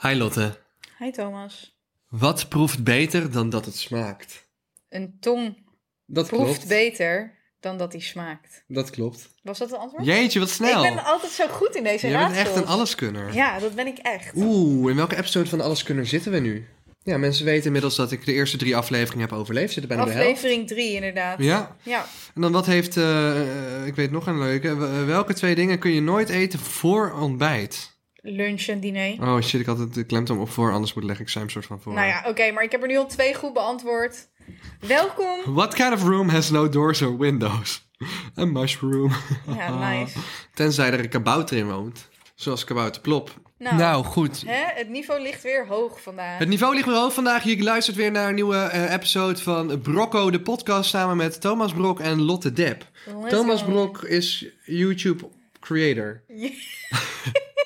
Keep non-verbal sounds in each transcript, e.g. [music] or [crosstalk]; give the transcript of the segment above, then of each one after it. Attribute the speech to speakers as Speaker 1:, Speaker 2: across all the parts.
Speaker 1: Hi Lotte.
Speaker 2: Hi Thomas.
Speaker 1: Wat proeft beter dan dat het smaakt?
Speaker 2: Een tong
Speaker 1: Dat
Speaker 2: proeft
Speaker 1: klopt.
Speaker 2: beter dan dat die smaakt.
Speaker 1: Dat klopt.
Speaker 2: Was dat het antwoord?
Speaker 1: Jeetje, wat snel.
Speaker 2: Ik ben altijd zo goed in deze
Speaker 1: Jij bent
Speaker 2: raadsels.
Speaker 1: echt een alleskunner.
Speaker 2: Ja, dat ben ik echt.
Speaker 1: Oeh, in welke episode van de Alleskunner zitten we nu? Ja, mensen weten inmiddels dat ik de eerste drie afleveringen heb overleefd. Zitten bijna
Speaker 2: Aflevering 3 inderdaad.
Speaker 1: de helft. Ja,
Speaker 2: Ja.
Speaker 1: en dan wat heeft, eh, eh, ik weet nog een leuke. W- eh, Welke twee dingen kun je nooit eten voor ontbijt?
Speaker 2: lunch en diner.
Speaker 1: Oh shit, ik had het de klemtoon op voor, anders moet leg ik zijn soort van voor.
Speaker 2: Nou ja, oké, maar ik heb er nu al twee goed beantwoord. Welkom.
Speaker 1: What kind of room has no doors or windows? [laughs] A mushroom. Ah.
Speaker 2: Ja, nice.
Speaker 1: Tenzij er een kabouter in woont. Zoals kabouter Plop.
Speaker 2: Nou.
Speaker 1: goed.
Speaker 2: Hè? Het niveau ligt weer hoog vandaag.
Speaker 1: Het niveau ligt weer hoog vandaag. Je luistert weer naar een nieuwe eh, episode van Brocco, de podcast samen met Thomas Brok en Lotte Depp.
Speaker 2: Let's
Speaker 1: Thomas
Speaker 2: go.
Speaker 1: Brok is YouTube
Speaker 2: [laughs]
Speaker 1: creator.
Speaker 2: Ja.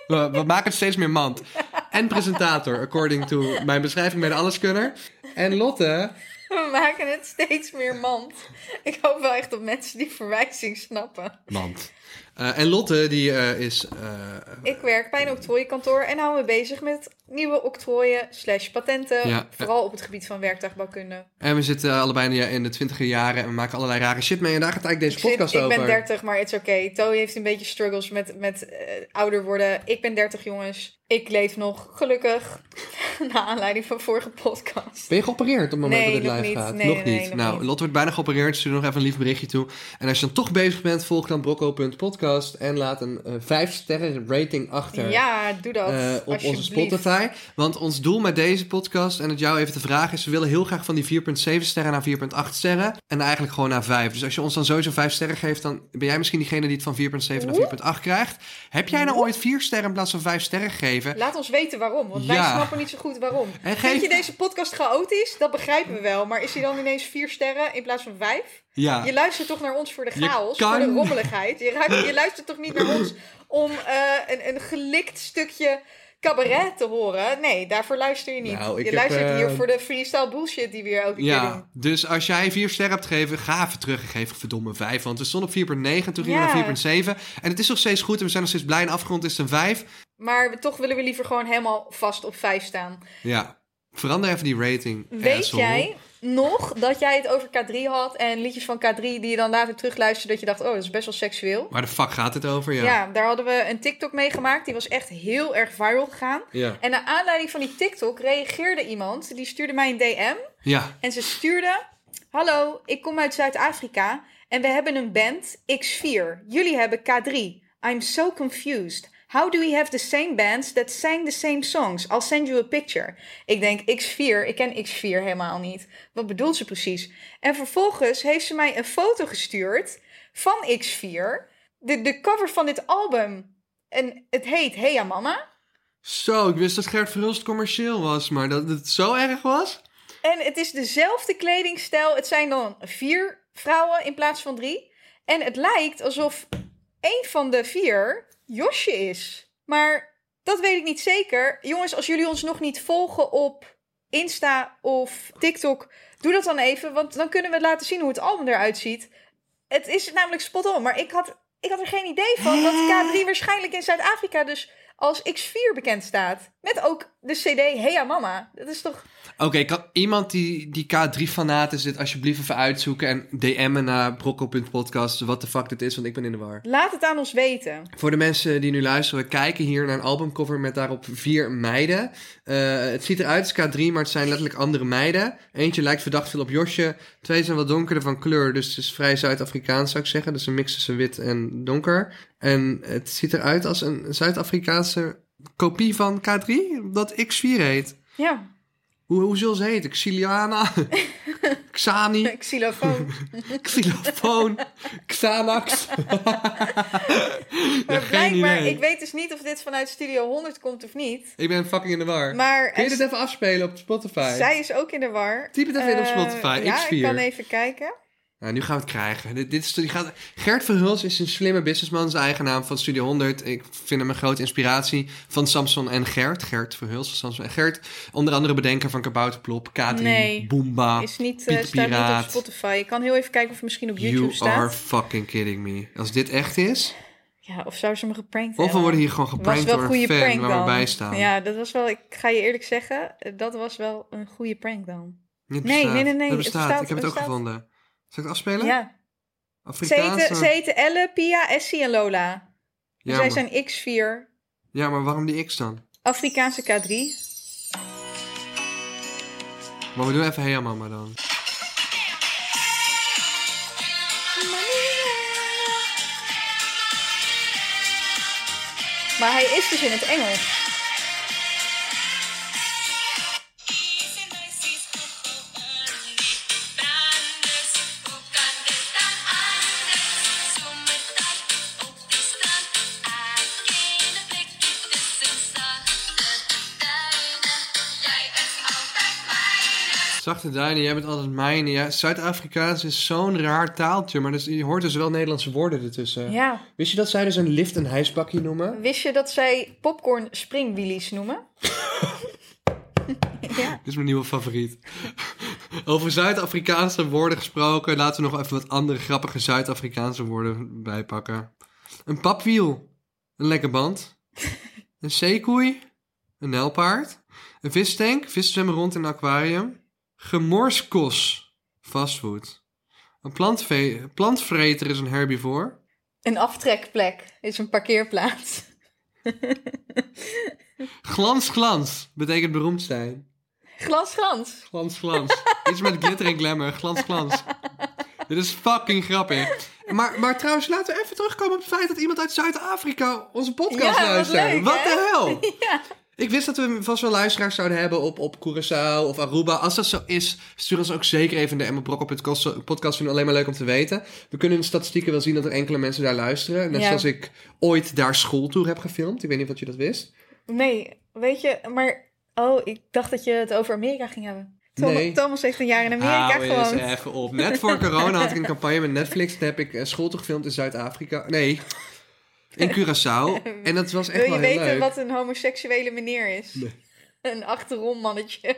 Speaker 1: we, we maken het steeds meer mand. En presentator, according to mijn beschrijving bij de Alleskunner. En Lotte,
Speaker 2: We maken het steeds meer mand. Ik hoop wel echt dat mensen die verwijzing snappen.
Speaker 1: mand. Eh, en Lotte, die eh, is eh,
Speaker 2: Ik werk bij een octrooienkantoor en hou me bezig met nieuwe octrooien slash patenten.
Speaker 1: Ja. eh.
Speaker 2: Vooral op het gebied van werktuigbouwkunde.
Speaker 1: En we zitten allebei in de- in de twintiger jaren en we maken allerlei rare shit mee. En daar gaat eigenlijk deze
Speaker 2: Ik, zit-
Speaker 1: podcast
Speaker 2: ik
Speaker 1: over.
Speaker 2: ben 30, maar it's okay. To heeft een beetje struggles met, met eh, ouder worden. Ik ben 30, jongens. Ik leef nog, gelukkig. [laughs] Na aanleiding van vorige podcast.
Speaker 1: Ben je geopereerd op het moment
Speaker 2: Nee,
Speaker 1: dat dit
Speaker 2: nog
Speaker 1: live
Speaker 2: niet.
Speaker 1: gaat?
Speaker 2: Nee,
Speaker 1: nog
Speaker 2: nee,
Speaker 1: niet.
Speaker 2: nee, nog
Speaker 1: nou,
Speaker 2: niet.
Speaker 1: Lot wordt bijna geopereerd. Stuur nog even een lief berichtje toe. En als je dan toch bezig bent, volg dan brocco.podcast en laat een 5 sterren rating achter.
Speaker 2: Ja, doe dat.
Speaker 1: eh, op onze
Speaker 2: alsjeblieft.
Speaker 1: Spotify. Want ons doel met deze podcast en het jou even te vragen is: we willen heel graag van die 4,7 sterren naar 4,8 sterren. En eigenlijk gewoon naar 5. Dus als je ons dan sowieso 5 sterren geeft, dan ben jij misschien diegene die het van 4,7 naar 4,8 krijgt. Heb jij nou ooit 4 sterren in plaats van 5 sterren gegeven?
Speaker 2: Laat ons weten waarom, want wij
Speaker 1: Ja.
Speaker 2: snappen niet zo goed waarom.
Speaker 1: En
Speaker 2: Vind je
Speaker 1: geef,
Speaker 2: deze podcast chaotisch? Dat begrijpen we wel. Maar is hij dan ineens vier sterren in plaats van vijf?
Speaker 1: ja,
Speaker 2: Je luistert toch naar ons voor de
Speaker 1: Je
Speaker 2: chaos,
Speaker 1: kan-
Speaker 2: voor de rommeligheid. Je, ruikt- je luistert toch niet naar ons om eh, een, een gelikt stukje cabaret te horen? Nee, daarvoor luister je niet.
Speaker 1: Nou, ik
Speaker 2: je
Speaker 1: heb,
Speaker 2: luistert
Speaker 1: eh,
Speaker 2: hier voor de freestyle bullshit die we hier elke keer doen.
Speaker 1: ja, dus als jij 4 sterren hebt gegeven, ga even terug en geef een verdomme 5. Want we stonden op 4,9, toen gingen
Speaker 2: Ja.
Speaker 1: we naar 4,7. En het is nog steeds goed en we zijn nog steeds blij en afgerond is het een 5.
Speaker 2: Maar we- toch willen we liever gewoon helemaal vast op vijf staan.
Speaker 1: Ja, verander even die rating. eh,
Speaker 2: Weet
Speaker 1: asshole.
Speaker 2: jij nog dat jij het over K3 had en liedjes van K3 die je dan later terugluisterde dat je dacht, oh, dat is best wel seksueel?
Speaker 1: Waar de fuck gaat het over?
Speaker 2: Ja,
Speaker 1: Ja.
Speaker 2: daar hadden we een TikTok mee gemaakt. Die was echt heel erg viral gegaan.
Speaker 1: Ja.
Speaker 2: En naar aanleiding van die TikTok reageerde iemand. Die stuurde mij een DM.
Speaker 1: ja.
Speaker 2: En ze stuurde: Hallo, ik kom uit Zuid-Afrika en we hebben een band X4. Jullie hebben K3. I'm so confused. How do we have the same bands that sang the same songs? I'll send you a picture. Ik denk X4, ik ken X4 helemaal niet. Wat bedoelt ze precies? En vervolgens heeft ze mij een foto gestuurd van X4, de, de cover van dit album. En het heet Heya Mama.
Speaker 1: Zo, ik wist dat Gert Verhulst commercieel was, maar dat het zo erg was?
Speaker 2: En het is dezelfde kledingstijl. Het zijn dan vier vrouwen in plaats van drie. En het lijkt alsof één van de vier Josje is. Maar dat weet ik niet zeker. Jongens, als jullie ons nog niet volgen op Insta of TikTok, doe dat dan even. Want dan kunnen we laten zien hoe het album eruit ziet. Het is namelijk spot on, maar ik had, ik had er geen idee van dat K3 waarschijnlijk in Zuid-Afrika dus als X4 bekend staat. Met ook de CD Heya Mama. Dat is toch
Speaker 1: Oké, kan iemand die, die K3-fanaat is dit alsjeblieft even uitzoeken en DM'en naar brocco.podcast wat de fuck dit is, want ik ben in de war.
Speaker 2: Laat het aan ons weten.
Speaker 1: Voor de mensen die nu luisteren, we kijken hier naar een albumcover met daarop vier meiden. Eh, het ziet eruit als K3, maar het zijn letterlijk andere meiden. Eentje lijkt verdacht veel op Josje. Twee zijn wat donkerder van kleur, dus het is vrij Zuid-Afrikaans zou ik zeggen. Dus een mix tussen wit en donker. En het ziet eruit als een Zuid-Afrikaanse kopie van K3, dat X4 heet.
Speaker 2: Ja,
Speaker 1: Hoe, hoe zullen ze heten?
Speaker 2: [laughs]
Speaker 1: Xiliana? Xani? [laughs]
Speaker 2: xylofoon.
Speaker 1: Xylofoon?
Speaker 2: [laughs]
Speaker 1: Xanax?
Speaker 2: Maar
Speaker 1: geen
Speaker 2: blijkbaar,
Speaker 1: idee.
Speaker 2: ik weet dus niet of dit vanuit Studio 100 komt of niet.
Speaker 1: Ik ben fucking in de war.
Speaker 2: Maar
Speaker 1: Kun je dit
Speaker 2: en
Speaker 1: even afspelen op Spotify?
Speaker 2: zij is ook in de war.
Speaker 1: Typ het even in op
Speaker 2: Eh,
Speaker 1: Spotify,
Speaker 2: Ja,
Speaker 1: X4.
Speaker 2: ik kan even kijken.
Speaker 1: Nou, nu gaan we het krijgen. Dit, dit is, die gaat, Gert Verhulst is een slimme businessman, zijn eigen naam van Studio 100. Ik vind hem een grote inspiratie van Samson en Gert. Gert Verhulst van Samson en Gert. Onder andere bedenker van Kabouterplop, K3,
Speaker 2: Nee.
Speaker 1: Boomba.
Speaker 2: Is niet, eh,
Speaker 1: Ah, Piet
Speaker 2: staat niet
Speaker 1: Piraat.
Speaker 2: op Spotify. Ik kan heel even kijken of het misschien op YouTube
Speaker 1: You
Speaker 2: staat.
Speaker 1: are fucking kidding me. Als dit echt is,
Speaker 2: Ja, of zou ze me geprankt
Speaker 1: Of we
Speaker 2: hebben?
Speaker 1: worden hier gewoon
Speaker 2: was
Speaker 1: geprankt
Speaker 2: wel
Speaker 1: door
Speaker 2: een
Speaker 1: een
Speaker 2: goede
Speaker 1: fan
Speaker 2: prank
Speaker 1: waar
Speaker 2: dan.
Speaker 1: we bij staan.
Speaker 2: Ja, dat was wel, ik ga je eerlijk zeggen, eh, dat was wel een goede prank dan.
Speaker 1: Dit
Speaker 2: Nee,
Speaker 1: bestaat.
Speaker 2: nee, nee,
Speaker 1: Dat
Speaker 2: nee, het
Speaker 1: bestaat.
Speaker 2: bestaat,
Speaker 1: ik heb het
Speaker 2: het
Speaker 1: ook
Speaker 2: bestaat.
Speaker 1: gevonden. Zal ik het afspelen?
Speaker 2: Ja. Ze
Speaker 1: Afrikaans.
Speaker 2: heten,
Speaker 1: eh,
Speaker 2: ze heten Elle, Pia, Essie en Lola.
Speaker 1: ja,
Speaker 2: Zij
Speaker 1: maar,
Speaker 2: zijn X4,
Speaker 1: ja, maar waarom die X dan?
Speaker 2: Afrikaanse K3.
Speaker 1: Maar we doen even Hey Mama dan.
Speaker 2: Maar hij is dus in het Engels.
Speaker 1: Zachte duinen, jij bent altijd mijne. Ja, Zuid-Afrikaans is zo'n raar taaltje, maar dus, je hoort dus wel Nederlandse woorden ertussen.
Speaker 2: Ja.
Speaker 1: Wist je dat zij dus een lift een hijsbakje noemen?
Speaker 2: Wist je dat zij popcorn springwheelies noemen? [laughs] ja.
Speaker 1: Dit is mijn nieuwe favoriet. Over Zuid-Afrikaanse woorden gesproken, laten we nog even wat andere grappige Zuid-Afrikaanse woorden bijpakken. Een papwiel, een lekke band, een zeekoei, een nijlpaard, een vistank, vissen zwemmen rond in een aquarium, gemorskos, fastfood. Een plantvee- plantvreter is een herbivore.
Speaker 2: Een aftrekplek is een parkeerplaats.
Speaker 1: Glans, glans, betekent beroemd zijn.
Speaker 2: Glans, glans.
Speaker 1: Glans, glans. Iets met glitter en glamour. Glans, glans. Dit is fucking grappig. Maar, maar trouwens, laten we even terugkomen op het feit dat iemand uit Zuid-Afrika onze podcast
Speaker 2: Ja, wat
Speaker 1: luistert.
Speaker 2: leuk,
Speaker 1: wat
Speaker 2: hè?
Speaker 1: de hel?
Speaker 2: [laughs] Ja.
Speaker 1: Ik wist dat we vast wel luisteraars zouden hebben op, op Curaçao of Aruba. Als dat zo is, stuur ons ook zeker even de Emma Brok op het kost- podcast. Vinden we alleen maar leuk om te weten. We kunnen in de statistieken wel zien dat er enkele mensen daar luisteren. Net
Speaker 2: Ja.
Speaker 1: zoals ik ooit daar schooltour heb gefilmd. Ik weet niet of je dat wist.
Speaker 2: Nee, weet je, maar... Oh, ik dacht dat je het over Amerika ging hebben. Tom-
Speaker 1: Nee. Nou,
Speaker 2: Thomas heeft een jaar in Amerika
Speaker 1: Hou eens
Speaker 2: gewoond.
Speaker 1: even op. Net voor corona had ik een campagne met Netflix. Daar heb ik eh, school toch gefilmd in Zuid-Afrika. Nee, in Curaçao. En dat was echt
Speaker 2: Wil
Speaker 1: wel
Speaker 2: je
Speaker 1: heel
Speaker 2: weten
Speaker 1: leuk.
Speaker 2: wat een homoseksuele meneer is?
Speaker 1: Nee.
Speaker 2: Een achterrommannetje.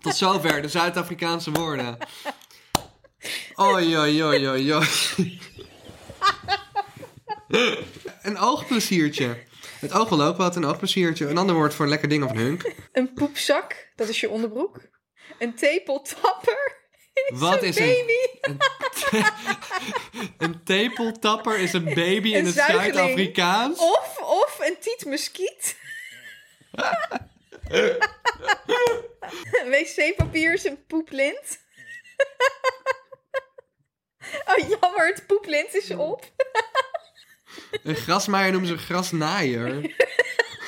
Speaker 1: Tot zover de Zuid-Afrikaanse woorden. Oi, oi, oi, oi, oi. Een oogpleziertje. Het oog wil ook wat, een oogpleziertje. Een ander woord voor een lekker ding of een hunk.
Speaker 2: Een poepzak, dat is je onderbroek. Een tepeltapper. [laughs]
Speaker 1: Wat is een,
Speaker 2: baby.
Speaker 1: een tepeltapper? Is een baby in
Speaker 2: Een
Speaker 1: het
Speaker 2: zuigeling.
Speaker 1: Zuid-Afrikaans?
Speaker 2: Of, of een tietmuskiet. Wc-papier is een poeplint. oh, jammer, het poeplint is op.
Speaker 1: Een grasmaaier noemen ze een grasnaaier.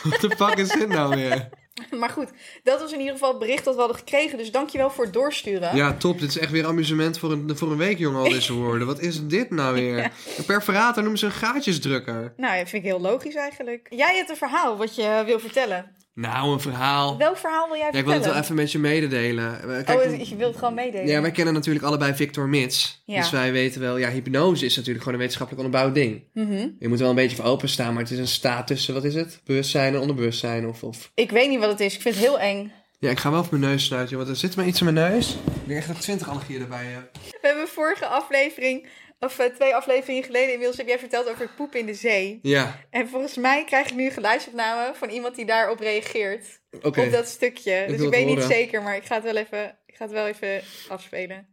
Speaker 1: Wat de fuck is dit nou weer?
Speaker 2: Maar goed, dat was in ieder geval het bericht dat we hadden gekregen. Dus dankjewel voor het doorsturen.
Speaker 1: Ja, top. Dit is echt weer amusement voor een, voor een week, jongen, al
Speaker 2: [laughs]
Speaker 1: deze woorden. Wat is dit nou weer? Een perforator noemen ze een gaatjesdrukker.
Speaker 2: Nou, dat vind ik heel logisch eigenlijk. Jij hebt een verhaal wat je wil vertellen.
Speaker 1: Nou, een verhaal.
Speaker 2: Welk verhaal wil jij
Speaker 1: Ja, ik wil
Speaker 2: vertellen?
Speaker 1: het wel even met je mededelen. Eh,
Speaker 2: oh,
Speaker 1: Kijk,
Speaker 2: je wilt het gewoon meedelen.
Speaker 1: ja, wij kennen natuurlijk allebei Victor Mits.
Speaker 2: Ja.
Speaker 1: Dus wij weten wel, ja, hypnose is natuurlijk gewoon een wetenschappelijk onderbouwd ding.
Speaker 2: Mhm.
Speaker 1: Je moet er wel een beetje voor openstaan, maar het is een staat tussen, wat is het? Bewustzijn en onderbewustzijn of... of
Speaker 2: Ik weet niet wat het is. Ik vind het heel eng.
Speaker 1: Ja, ik ga wel even mijn neus sluiten, want er zit maar iets in mijn neus. Ik denk echt dat ik 20 allergieën erbij heb.
Speaker 2: We hebben vorige aflevering, of eh, twee afleveringen geleden inmiddels, heb jij verteld over het poep in de zee.
Speaker 1: Ja,
Speaker 2: En volgens mij krijg ik nu een geluidsopname van iemand die daarop reageert.
Speaker 1: oké.
Speaker 2: Op dat stukje. dus
Speaker 1: wil
Speaker 2: ik
Speaker 1: het
Speaker 2: weet niet
Speaker 1: horen.
Speaker 2: zeker, maar ik ga het wel even, ik ga het wel even afspelen.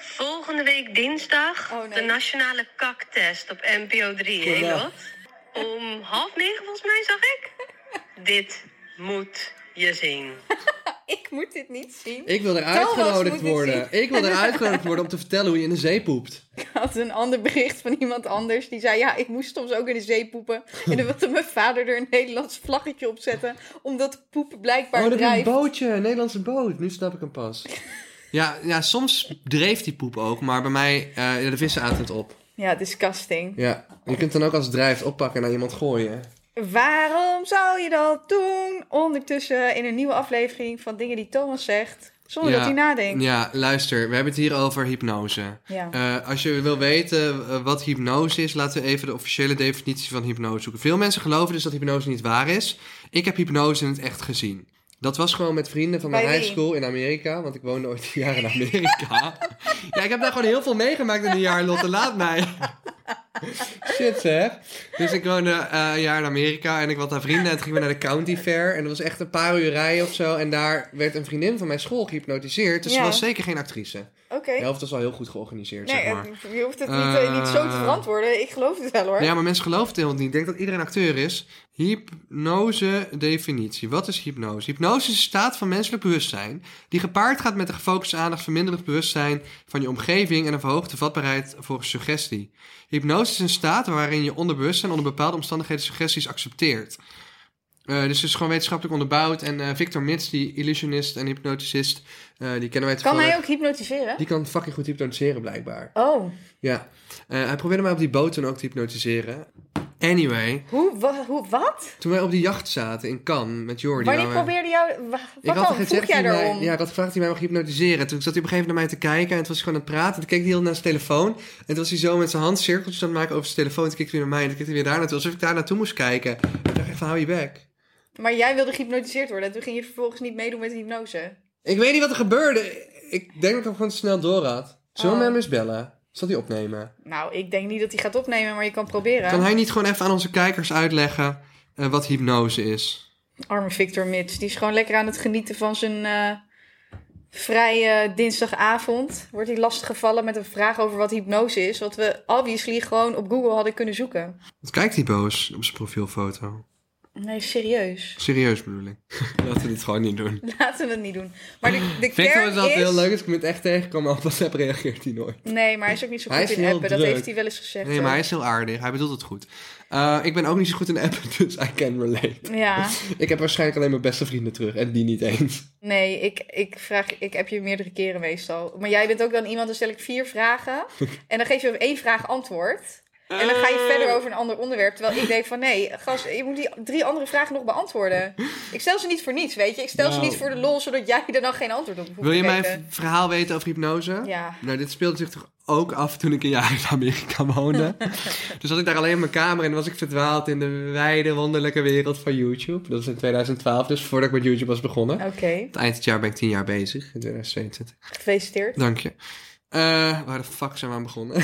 Speaker 3: Volgende week dinsdag
Speaker 2: Oh, nee.
Speaker 3: de nationale kaktest op NPO 3, hè Lot? Om half negen volgens mij zag
Speaker 2: [laughs]
Speaker 3: ik. Dit moet je zien.
Speaker 2: Ik moet dit niet zien.
Speaker 1: Ik wil er
Speaker 2: Thomas
Speaker 1: uitgenodigd
Speaker 2: moet dit
Speaker 1: worden. Ik [laughs] wil er uitgenodigd worden om te vertellen hoe je in de zee poept.
Speaker 2: Ik had een ander bericht van iemand anders. Die zei, ja, ik moest soms ook in de zee poepen. En dan wilde mijn vader er een Nederlands vlaggetje op zetten. Omdat poep blijkbaar
Speaker 1: oh, dat is een
Speaker 2: drijft.
Speaker 1: bootje, een Nederlandse boot. Nu snap ik hem pas. ja, ja, soms dreef die poep ook, maar bij mij, eh de vissen aten het op.
Speaker 2: Ja, disgusting.
Speaker 1: Ja, je kunt dan ook als het drijft oppakken en naar iemand gooien.
Speaker 2: Waarom zou je dat doen? Ondertussen in een nieuwe aflevering van Dingen die Thomas zegt, zonder
Speaker 1: Ja.
Speaker 2: dat hij nadenkt.
Speaker 1: Ja, luister, we hebben het hier over hypnose.
Speaker 2: Ja.
Speaker 1: Eh, als je wil weten eh, wat hypnose is, laten we even de officiële definitie van hypnose zoeken. Veel mensen geloven dus dat hypnose niet waar is. Ik heb hypnose in het echt gezien. Dat was gewoon met vrienden van mijn
Speaker 2: Bij wie?
Speaker 1: high school in Amerika. Want ik woonde ooit een jaar in
Speaker 2: [laughs]
Speaker 1: Amerika. ja, ik heb daar gewoon heel veel meegemaakt in een jaar, Lotte. Laat mij. Shit zeg. Dus ik woonde eh, een jaar in Amerika en ik had daar vrienden. En toen gingen we naar de county fair. En dat was echt een paar uur rijden of zo. En daar werd een vriendin van mijn school gehypnotiseerd. Dus ze
Speaker 2: Ja.
Speaker 1: was zeker geen actrice.
Speaker 2: Oké.
Speaker 1: De helft was al heel goed georganiseerd,
Speaker 2: Nee,
Speaker 1: Eh, zeg maar.
Speaker 2: eh, je hoeft het niet, eh, niet zo te
Speaker 1: Eh.
Speaker 2: verantwoorden. Ik geloof het wel hoor.
Speaker 1: Ja, maar mensen geloven het helemaal niet. Ik denk dat iedereen acteur is. Hypnose-definitie. Wat is hypnose? Hypnose is een staat van menselijk bewustzijn... die gepaard gaat met een gefocuste aandacht... verminderend bewustzijn van je omgeving... en een verhoogde vatbaarheid voor suggestie. Hypnose is een staat waarin je onderbewustzijn... onder bepaalde omstandigheden suggesties accepteert. Eh, dus het is gewoon wetenschappelijk onderbouwd. En eh, Victor Mits, die illusionist en hypnoticist... eh, die kennen wij
Speaker 2: kan
Speaker 1: toevallig.
Speaker 2: hij ook hypnotiseren?
Speaker 1: Die kan fucking goed hypnotiseren, blijkbaar.
Speaker 2: Oh,
Speaker 1: Ja. Eh, hij probeerde mij op die boot toen ook te hypnotiseren. Anyway,
Speaker 2: hoe, wa- hoe, wat?
Speaker 1: toen wij op die jacht zaten in Cannes met Jordi.
Speaker 2: Wanneer
Speaker 1: waren-
Speaker 2: probeerde jou... wa-
Speaker 1: ik
Speaker 2: Wat
Speaker 1: had
Speaker 2: dan?
Speaker 1: gezegd
Speaker 2: Vroeg jij
Speaker 1: dat hij mij-
Speaker 2: daarom?
Speaker 1: Ja, ik had gevraagd dat hij mij mag hypnotiseren. Toen zat hij op een gegeven moment naar mij te kijken en toen was hij gewoon aan het praten. Toen keek hij heel naar zijn telefoon. En toen was hij zo met zijn hand cirkeltjes aan het maken over zijn telefoon. Toen keek hij weer naar mij en toen keek hij weer daar naartoe. Alsof ik daar naartoe moest kijken. Ik dacht echt van, hou je bek.
Speaker 2: Maar jij wilde gehypnotiseerd worden. En toen ging je vervolgens niet meedoen met de hypnose.
Speaker 1: Ik weet niet wat er gebeurde. Ik denk dat ik hem gewoon snel door had. Zullen we
Speaker 2: Oh.
Speaker 1: hem eens bellen? Zal hij opnemen?
Speaker 2: Nou, ik denk niet dat hij gaat opnemen, maar je kan proberen.
Speaker 1: Kan hij niet gewoon even aan onze kijkers uitleggen eh, wat hypnose is?
Speaker 2: Arme Victor Mits. Die is gewoon lekker aan het genieten van zijn eh, vrije dinsdagavond. Wordt hij lastiggevallen met een vraag over wat hypnose is. Wat we obviously gewoon op Google hadden kunnen zoeken.
Speaker 1: Wat kijkt hij boos op zijn profielfoto?
Speaker 2: Nee, serieus. [laughs]
Speaker 1: Serieus bedoel ik. [laughs] Laten we dit gewoon niet doen.
Speaker 2: Laten we het niet doen. Maar de, de
Speaker 1: Victor
Speaker 2: kern
Speaker 1: is altijd
Speaker 2: is...
Speaker 1: heel leuk als ik hem het echt tegenkom, maar op WhatsApp reageert hij nooit.
Speaker 2: Nee, maar hij is ook niet zo goed
Speaker 1: Hij is
Speaker 2: in
Speaker 1: heel
Speaker 2: appen. Dat
Speaker 1: druk.
Speaker 2: heeft hij wel eens gezegd.
Speaker 1: Nee,
Speaker 2: ook.
Speaker 1: maar hij is heel aardig. Hij bedoelt het goed. Eh, ik ben ook niet zo goed in appen, [laughs] dus I can relate.
Speaker 2: Ja,
Speaker 1: Ik heb waarschijnlijk alleen mijn beste vrienden terug en die niet eens.
Speaker 2: nee, ik, ik, vraag, ik heb je meerdere keren meestal. Maar jij bent ook dan iemand, dan stel ik vier
Speaker 1: [laughs]
Speaker 2: vragen. En dan geef je op één vraag antwoord. En dan ga
Speaker 1: Eh.
Speaker 2: je verder over een ander onderwerp. Terwijl ik denk van, nee, gast, je moet die drie andere vragen nog beantwoorden. Ik stel ze niet voor niets, weet je. Ik stel ze
Speaker 1: Nou.
Speaker 2: niet voor de lol, zodat jij er dan geen antwoord op hoeft
Speaker 1: Wil je
Speaker 2: te
Speaker 1: mijn
Speaker 2: geven.
Speaker 1: v- verhaal weten over hypnose?
Speaker 2: Ja.
Speaker 1: Nou, dit speelde zich toch ook af toen ik een jaar in Amerika
Speaker 2: [laughs]
Speaker 1: woonde. dus zat ik daar alleen in mijn kamer en was ik verdwaald in de wijde, wonderlijke wereld van YouTube. Dat was in 2012, dus voordat ik met YouTube was begonnen.
Speaker 2: Oké,
Speaker 1: Het eind dit jaar ben ik 10 jaar bezig, in 2022.
Speaker 2: gefeliciteerd.
Speaker 1: Dank je. Eh, waar de fuck zijn we aan
Speaker 2: [laughs]
Speaker 1: begonnen?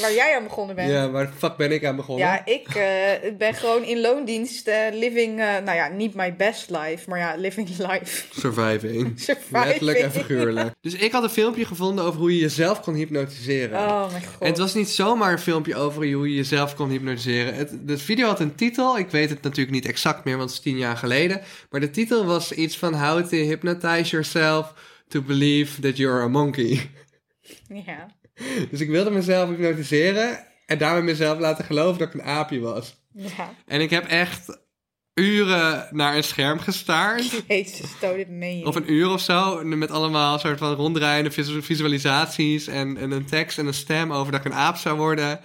Speaker 2: Waar jij aan begonnen bent.
Speaker 1: ja, waar de fuck ben ik aan begonnen?
Speaker 2: Ja, ik eh, ben gewoon in loondienst eh, living, eh, nou ja, niet my best life, maar ja, living [laughs] life.
Speaker 1: Surviving.
Speaker 2: [laughs] Surviving.
Speaker 1: Letterlijk en
Speaker 2: [laughs]
Speaker 1: figuurlijk. Dus ik had een filmpje gevonden over hoe je jezelf kon hypnotiseren.
Speaker 2: Oh mijn god.
Speaker 1: En het was niet zomaar een filmpje over hoe je jezelf kon hypnotiseren. Het, de video had een titel. Ik weet het natuurlijk niet exact meer, want het is tien jaar geleden. Maar de titel was iets van How to hypnotize yourself to believe that you're a monkey.
Speaker 2: Ja.
Speaker 1: Dus ik wilde mezelf hypnotiseren en daarmee mezelf laten geloven dat ik een aapje was.
Speaker 2: Ja.
Speaker 1: En ik heb echt uren naar een scherm gestaard. [laughs]
Speaker 2: Jezus, toon dit meen je
Speaker 1: Of
Speaker 2: niet.
Speaker 1: een uur of zo. Met allemaal soort van ronddraaiende visu- visualisaties. En, en een tekst en een stem over dat ik een aap zou worden.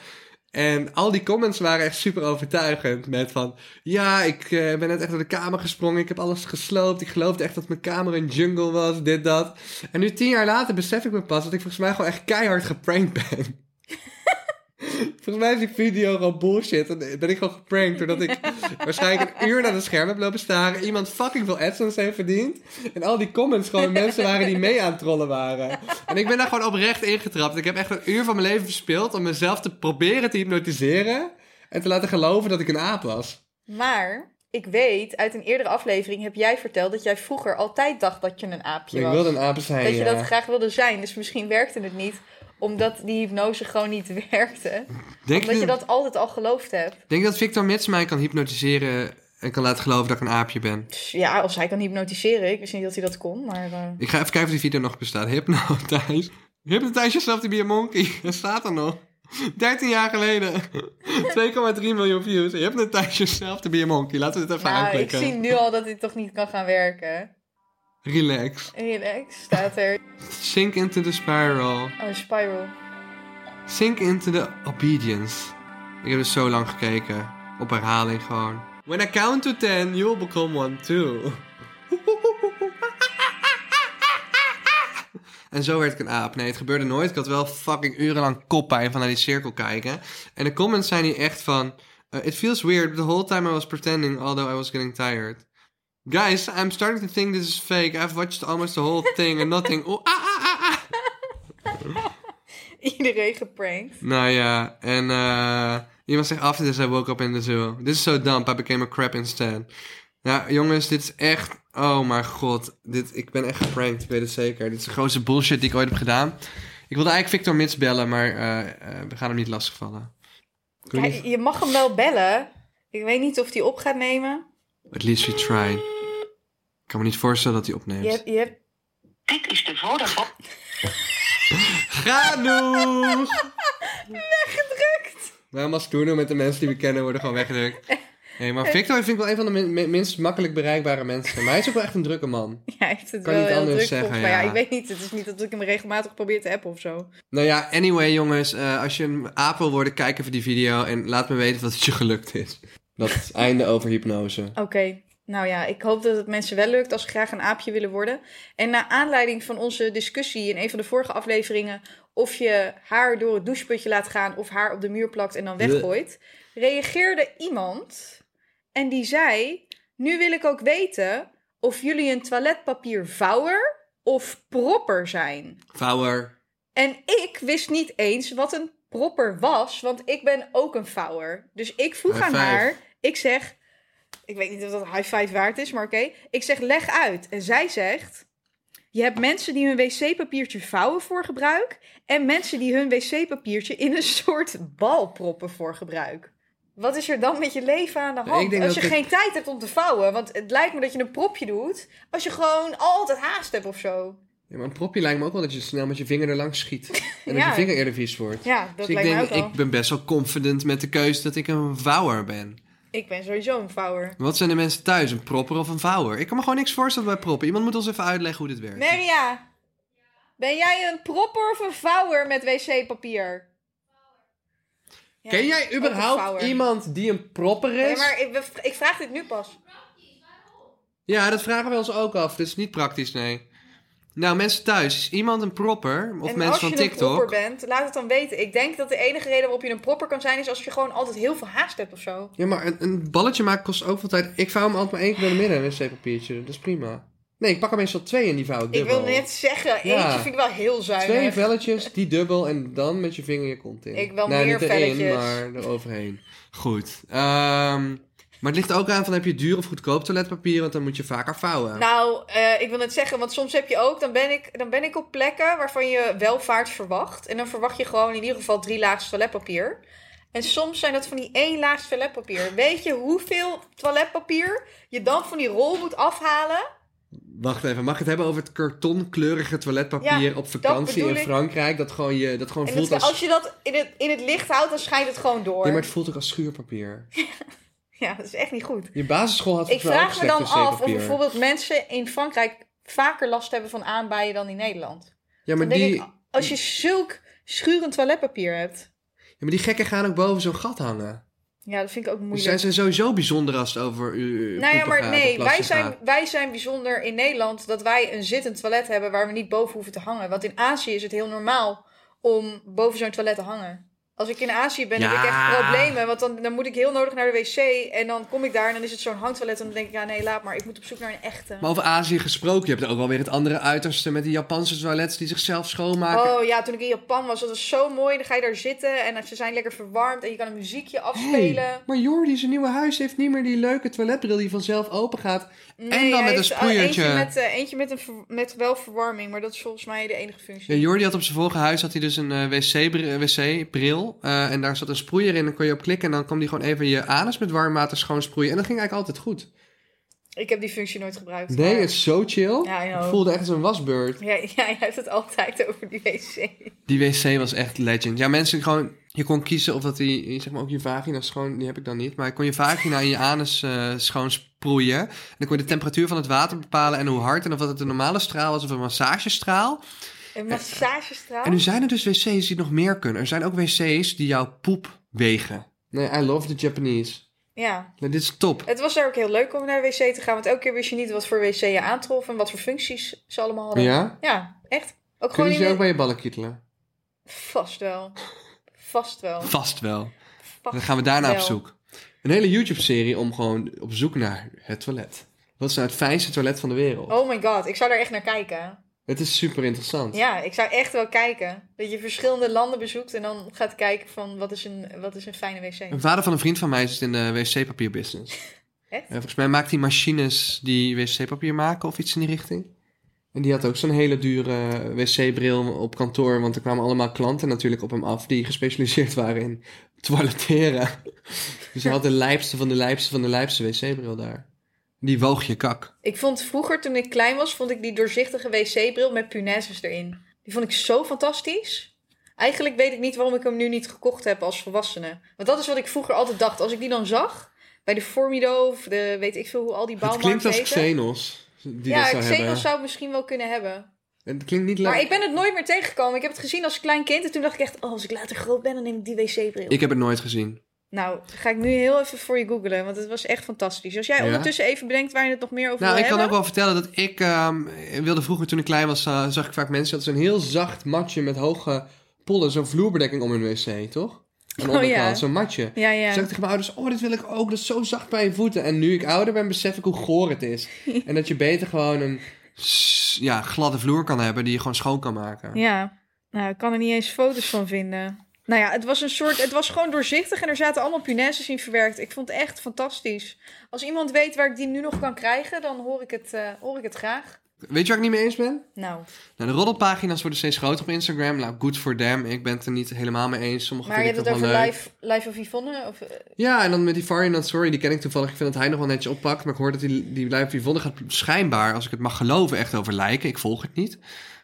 Speaker 1: En al die comments waren echt super overtuigend. Met van, ja, ik eh, ben net echt door de kamer gesprongen. Ik heb alles gesloopt. Ik geloofde echt dat mijn kamer een jungle was. Dit, dat. En nu tien jaar later besef ik me pas dat ik volgens mij gewoon echt keihard geprankt ben. volgens mij is die video gewoon bullshit. En ben ik gewoon geprankt doordat
Speaker 2: [laughs]
Speaker 1: ik waarschijnlijk een uur naar het scherm heb lopen staren. Iemand fucking veel AdSense heeft verdiend. En al die comments gewoon mensen waren die mee aan het trollen waren. En ik ben daar gewoon oprecht ingetrapt. Ik heb echt een uur van mijn leven verspild om mezelf te proberen te hypnotiseren. En te laten geloven dat ik een aap was.
Speaker 2: Maar ik weet, uit een eerdere aflevering heb jij verteld dat jij vroeger altijd dacht dat je een aapje
Speaker 1: Ik
Speaker 2: was.
Speaker 1: wilde een eh. aap zijn,
Speaker 2: dat je
Speaker 1: ja.
Speaker 2: dat graag wilde zijn, dus misschien werkte het niet omdat die hypnose gewoon niet [laughs] werkte.
Speaker 1: Denk
Speaker 2: Omdat
Speaker 1: je-
Speaker 2: je dat altijd al geloofd hebt.
Speaker 1: Denk je dat Victor Mits mij kan hypnotiseren en kan laten geloven dat ik een aapje ben?
Speaker 2: Dus ja, als hij kan hypnotiseren, ik wist niet dat hij dat kon, maar... eh,
Speaker 1: Ik ga even kijken of die video nog bestaat. Hypnotize. Hypnotize yourself to be a monkey. [laughs] Dat staat er nog. 13 jaar
Speaker 2: [laughs]
Speaker 1: geleden. 2,3 miljoen views. Hypnotize yourself to be a monkey. Laten we dit even
Speaker 2: Nou, ik
Speaker 1: aanklikken.
Speaker 2: zie nu al dat dit toch niet kan gaan werken.
Speaker 1: Relax.
Speaker 2: Relax, staat er.
Speaker 1: Sink into the spiral.
Speaker 2: Oh, Spiral. [laughs]
Speaker 1: Sink into the obedience. Ik heb dus zo lang gekeken. Op herhaling gewoon. When I count to 10, you'll become one too. [laughs] En zo werd ik een aap. Nee, het gebeurde nooit. Ik had wel fucking urenlang koppijn van naar die cirkel kijken. En de comments zijn hier echt van... eh, It feels weird, but the whole time I was pretending, although I was getting tired. Guys, I'm starting to think this is fake. I've watched almost the whole thing and nothing. Oh, ah, ah, ah, ah.
Speaker 2: Iedereen geprankt.
Speaker 1: Nou ja, en eh, iemand zegt after this I woke up in the zoo. This is so dumb, I became a crab instead. Nou jongens, dit is echt... Oh mijn god, dit, ik ben echt geprankt, ik weet het zeker. Dit is de grootste bullshit die ik ooit heb gedaan. Ik wilde eigenlijk Victor Mits bellen, maar eh, eh, we gaan hem niet lastigvallen. Ik weet
Speaker 2: Ja,
Speaker 1: niet-
Speaker 2: je mag hem wel bellen. Ik weet niet of hij op gaat nemen.
Speaker 1: At least we tried. Ik kan me niet voorstellen dat hij opneemt.
Speaker 2: Je hebt, je hebt...
Speaker 3: Dit is de Vodafone.
Speaker 1: Genoeg!
Speaker 2: [laughs]
Speaker 1: Weggedrukt! Waarom als doen met de mensen die we kennen worden gewoon weggedrukt? Nee, maar Victor vind ik wel een van de min- min- minst makkelijk bereikbare mensen. Maar hij is ook wel echt een drukke man.
Speaker 2: Ja, hij heeft het
Speaker 1: Kan
Speaker 2: wel
Speaker 1: niet
Speaker 2: heel
Speaker 1: anders
Speaker 2: druk
Speaker 1: zeggen,
Speaker 2: volgens mij. Ja.
Speaker 1: ja.
Speaker 2: ik weet niet. Het is niet dat ik hem regelmatig probeer te appen of zo.
Speaker 1: Nou ja, anyway jongens, eh, als je een aap wil worden, kijk even die video en laat me weten wat het je gelukt is. Dat is het einde over hypnose.
Speaker 2: Oké. Nou ja, ik hoop dat het mensen wel lukt als ze graag een aapje willen worden. En naar aanleiding van onze discussie in een van de vorige afleveringen... of je haar door het doucheputje laat gaan of haar op de muur plakt en dan weggooit... reageerde iemand en die zei... Nu wil ik ook weten of jullie een toiletpapiervouwer of propper zijn.
Speaker 1: Vouwer.
Speaker 2: En ik wist niet eens wat een propper was, want ik ben ook een vouwer. Dus ik vroeg
Speaker 1: High
Speaker 2: aan
Speaker 1: five.
Speaker 2: haar, ik zeg, ik weet niet of dat een high five waard is, maar oké. Ik zeg, leg uit. En zij zegt, je hebt mensen die hun wc-papiertje vouwen voor gebruik en mensen die hun wc-papiertje in een soort bal proppen voor gebruik. Wat is er dan met je leven aan de
Speaker 1: Nee, ik
Speaker 2: hand?
Speaker 1: denk
Speaker 2: Als je
Speaker 1: dat het-
Speaker 2: geen tijd hebt om te vouwen, want het lijkt me dat je een propje doet, als je gewoon altijd haast hebt of zo.
Speaker 1: Ja, maar een propje lijkt me ook wel dat je snel met je vinger erlangs schiet. En dat
Speaker 2: Ja.
Speaker 1: je vinger eerder vies wordt.
Speaker 2: Ja, dat
Speaker 1: dus ik
Speaker 2: lijkt
Speaker 1: denk,
Speaker 2: me ook al.
Speaker 1: ik ben best wel confident met de keuze dat ik een vouwer ben.
Speaker 2: Ik ben sowieso een vouwer.
Speaker 1: Wat zijn de mensen thuis, een propper of een vouwer? Ik kan me gewoon niks voorstellen bij proppen. Iemand moet ons even uitleggen hoe dit werkt.
Speaker 2: Maria, ben jij een propper of een vouwer met wc-papier? Ja,
Speaker 1: Ken
Speaker 2: ook
Speaker 1: jij
Speaker 2: een
Speaker 1: überhaupt
Speaker 2: vouwer.
Speaker 1: iemand die een propper is?
Speaker 2: Nee, maar ik, we- ik vraag dit nu pas.
Speaker 1: Ja, dat vragen we ons ook af. Dit is niet praktisch, nee. Nou, mensen thuis, is iemand een propper? Of
Speaker 2: en
Speaker 1: mensen
Speaker 2: als
Speaker 1: van
Speaker 2: je een
Speaker 1: TikTok?
Speaker 2: propper bent, laat het dan weten. Ik denk dat de enige reden waarop je een propper kan zijn... is als je gewoon altijd heel veel haast hebt of zo.
Speaker 1: Ja, maar een, een balletje maken kost ook veel tijd. Ik vouw hem altijd maar één keer door de midden, een wc-papiertje. Dat is prima. Nee, ik pak er meestal twee en die vouw ik
Speaker 2: Ik
Speaker 1: dubbel.
Speaker 2: wil net zeggen, eentje
Speaker 1: Ja.
Speaker 2: vind ik wel heel zuinig.
Speaker 1: Twee velletjes, die dubbel en dan met je vinger je kont in.
Speaker 2: Ik wil
Speaker 1: nou,
Speaker 2: meer
Speaker 1: niet
Speaker 2: velletjes.
Speaker 1: erin, maar eroverheen. Goed. Ehm, maar het ligt ook aan van heb je duur of goedkoop toiletpapier, want dan moet je vaker vouwen.
Speaker 2: Nou, eh, ik wil net zeggen, want soms heb je ook... Dan ben, ik, dan ben ik op plekken waarvan je welvaart verwacht. En dan verwacht je gewoon in ieder geval drie laags toiletpapier. En soms zijn dat van die één laags toiletpapier. Weet je hoeveel toiletpapier je dan van die rol moet afhalen?
Speaker 1: Wacht even, mag ik het hebben over het kartonkleurige toiletpapier
Speaker 2: Ja,
Speaker 1: op vakantie
Speaker 2: bedoel
Speaker 1: in
Speaker 2: ik.
Speaker 1: Frankrijk? Dat gewoon, je, dat gewoon
Speaker 2: En
Speaker 1: voelt
Speaker 2: dat,
Speaker 1: als...
Speaker 2: als je dat in het, in het licht houdt, dan schijnt het gewoon door.
Speaker 1: Nee, maar het voelt ook als schuurpapier.
Speaker 2: Ja, dat is echt niet goed.
Speaker 1: Je basisschool had
Speaker 2: Ik
Speaker 1: volgens mij ook
Speaker 2: vraag me dan
Speaker 1: slecht
Speaker 2: af of
Speaker 1: wc-papier.
Speaker 2: bijvoorbeeld mensen in Frankrijk vaker last hebben van aanbijen dan in Nederland.
Speaker 1: Ja, maar
Speaker 2: dan denk
Speaker 1: die,
Speaker 2: ik, als je zulk schurend toiletpapier hebt...
Speaker 1: ja, maar die gekken gaan ook boven zo'n gat hangen.
Speaker 2: Ja, dat vind ik ook moeilijk.
Speaker 1: Dus zij zijn sowieso bijzonder als het over u, u
Speaker 2: Nou ja,
Speaker 1: poepen
Speaker 2: maar
Speaker 1: gaat,
Speaker 2: nee,
Speaker 1: of
Speaker 2: wij
Speaker 1: plassen
Speaker 2: zijn,
Speaker 1: gaat.
Speaker 2: wij zijn bijzonder in Nederland dat wij een zittend toilet hebben waar we niet boven hoeven te hangen. Want in Azië is het heel normaal om boven zo'n toilet te hangen. Als ik in Azië ben, heb ik
Speaker 1: Ja.
Speaker 2: echt problemen. Want dan, dan moet ik heel nodig naar de wc. En dan kom ik daar en dan is het zo'n hangtoilet. En dan denk ik, ja nee, laat maar. Ik moet op zoek naar een echte.
Speaker 1: Maar over Azië gesproken, je hebt er ook wel weer het andere uiterste met die Japanse toilets die zichzelf schoonmaken.
Speaker 2: Oh ja, toen ik in Japan was, dat was zo mooi. Dan ga je daar zitten en ze zijn lekker verwarmd. En je kan een muziekje afspelen.
Speaker 1: Hey, maar Jordi, zijn nieuwe huis heeft niet meer die leuke toiletbril die vanzelf open gaat. en dan
Speaker 2: hij
Speaker 1: met een
Speaker 2: heeft, uh,
Speaker 1: sproeiertje.
Speaker 2: Eentje met, eh, eentje met, een, ver- met wel verwarming. Maar dat is volgens mij de enige functie.
Speaker 1: Ja, Jordi had op zijn vorige huis had hij dus een wc-bril. eh, en daar zat een sproeier in. Dan kon je op klikken en dan kwam die gewoon even je anus met warm water schoon sproeien. En dat ging eigenlijk altijd goed.
Speaker 2: Ik heb die functie nooit gebruikt.
Speaker 1: Nee,
Speaker 2: maar-
Speaker 1: het is zo chill.
Speaker 2: Ja, I know.
Speaker 1: ik voelde echt als een wasbeurt.
Speaker 2: Ja, [laughs] ja, je hebt het altijd over die wc.
Speaker 1: Die wc was echt legend. Ja, mensen gewoon... Je kon kiezen of dat die, zeg maar ook je vagina schoon, die heb ik dan niet, maar je kon je vagina en je anus eh schoon sproeien. En dan kon je de temperatuur van het water bepalen en hoe hard en of dat het een normale straal was of een massagestraal.
Speaker 2: Een massagestraal.
Speaker 1: En nu zijn er dus wc's die nog meer kunnen. Er zijn ook wc's die jouw poep wegen. Nee, I love the Japanese.
Speaker 2: Ja.
Speaker 1: Nee, dit is top.
Speaker 2: Het was daar ook heel leuk om naar de wc te gaan. Want elke keer wist je niet wat voor wc je aantrof en wat voor functies ze allemaal hadden.
Speaker 1: Ja?
Speaker 2: Ja, echt. Ook gewoon
Speaker 1: Kunnen
Speaker 2: in
Speaker 1: ze je
Speaker 2: de-
Speaker 1: ook bij je ballen kietelen?
Speaker 2: Vast wel. Vast wel.
Speaker 1: Vast wel.
Speaker 2: Vast
Speaker 1: Dan gaan we daarna op
Speaker 2: wel.
Speaker 1: zoek. Een hele YouTube-serie om gewoon op zoek naar het toilet. Dat is nou het fijnste toilet van de wereld.
Speaker 2: Oh my god, ik zou daar echt naar kijken.
Speaker 1: Het is super interessant.
Speaker 2: Ja, ik zou echt wel kijken. Dat je verschillende landen bezoekt en dan gaat kijken van wat is een, wat is een fijne wc.
Speaker 1: Een vader van een vriend van mij zit in de wc-papierbusiness.
Speaker 2: [laughs] Echt?
Speaker 1: En volgens mij maakt hij machines die wc-papier maken of iets in die richting. En die had ook zo'n hele dure wc-bril op kantoor. Want er kwamen allemaal klanten natuurlijk op hem af die gespecialiseerd waren in
Speaker 2: [laughs]
Speaker 1: toileteren. Dus hij had de lijpste van de lijpste van de lijpste wc-bril daar. Die woog je kak.
Speaker 2: Ik vond vroeger, toen ik klein was, vond ik die doorzichtige wc-bril met punaises erin. Die vond ik zo fantastisch. Eigenlijk weet ik niet waarom ik hem nu niet gekocht heb als volwassene. Want dat is wat ik vroeger altijd dacht. Als ik die dan zag, bij de Formido of de weet ik veel hoe al die
Speaker 1: Het
Speaker 2: bouwmarkten
Speaker 1: klinkt als
Speaker 2: heten.
Speaker 1: Xenos. Die
Speaker 2: ja,
Speaker 1: dat
Speaker 2: het
Speaker 1: zou
Speaker 2: Xenos
Speaker 1: hebben.
Speaker 2: zou het misschien wel kunnen hebben.
Speaker 1: Het klinkt niet leuk.
Speaker 2: Maar ik ben het nooit meer tegengekomen. Ik heb het gezien als klein kind en toen dacht ik echt... Oh, als ik later groot ben, dan neem ik die wc-bril.
Speaker 1: Ik heb het nooit gezien.
Speaker 2: Nou, ga ik nu heel even voor je googlen, want het was echt fantastisch. Als jij
Speaker 1: Ja?
Speaker 2: ondertussen even bedenkt waar je het nog meer over
Speaker 1: Nou, ik
Speaker 2: wil
Speaker 1: kan ook wel
Speaker 2: hebben.
Speaker 1: vertellen dat ik ehm, wilde vroeger toen ik klein was, eh, zag ik vaak mensen dat ze een heel zacht matje met hoge pollen, zo'n vloerbedekking om hun wc, toch? Aan de
Speaker 2: Oh, ja.
Speaker 1: onderkant, zo'n matje.
Speaker 2: Ja, ja.
Speaker 1: Toen zei ik tegen mijn ouders, oh, dit wil ik ook, dat is zo zacht bij je voeten. En nu ik ouder ben, besef ik hoe goor het
Speaker 2: [laughs]
Speaker 1: is. en dat je beter gewoon een s- ja, gladde vloer kan hebben die je gewoon schoon kan maken.
Speaker 2: Ja, nou, ik kan er niet eens foto's van vinden. Nou ja, het was een soort. Het was gewoon doorzichtig en er zaten allemaal punaises in verwerkt. Ik vond het echt fantastisch. Als iemand weet waar ik die nu nog kan krijgen, dan hoor ik het, eh, hoor ik het graag.
Speaker 1: Weet je waar ik niet mee eens ben?
Speaker 2: Nou,
Speaker 1: Nou, de roddelpagina's worden steeds groter op Instagram. Nou, good for them. Ik ben het er niet helemaal mee eens. Sommige
Speaker 2: maar je
Speaker 1: vind
Speaker 2: hebt
Speaker 1: ik
Speaker 2: het
Speaker 1: toch wel
Speaker 2: over
Speaker 1: leuk.
Speaker 2: live, live of Yvonne? Of, eh,
Speaker 1: Ja, en dan met die Farian Not Sorry, die ken ik toevallig. Ik vind dat hij nog wel netjes oppakt. Maar ik hoor dat die, die Lijf Yvonne gaat schijnbaar, als ik het mag geloven, echt over lijken. Ik volg het niet.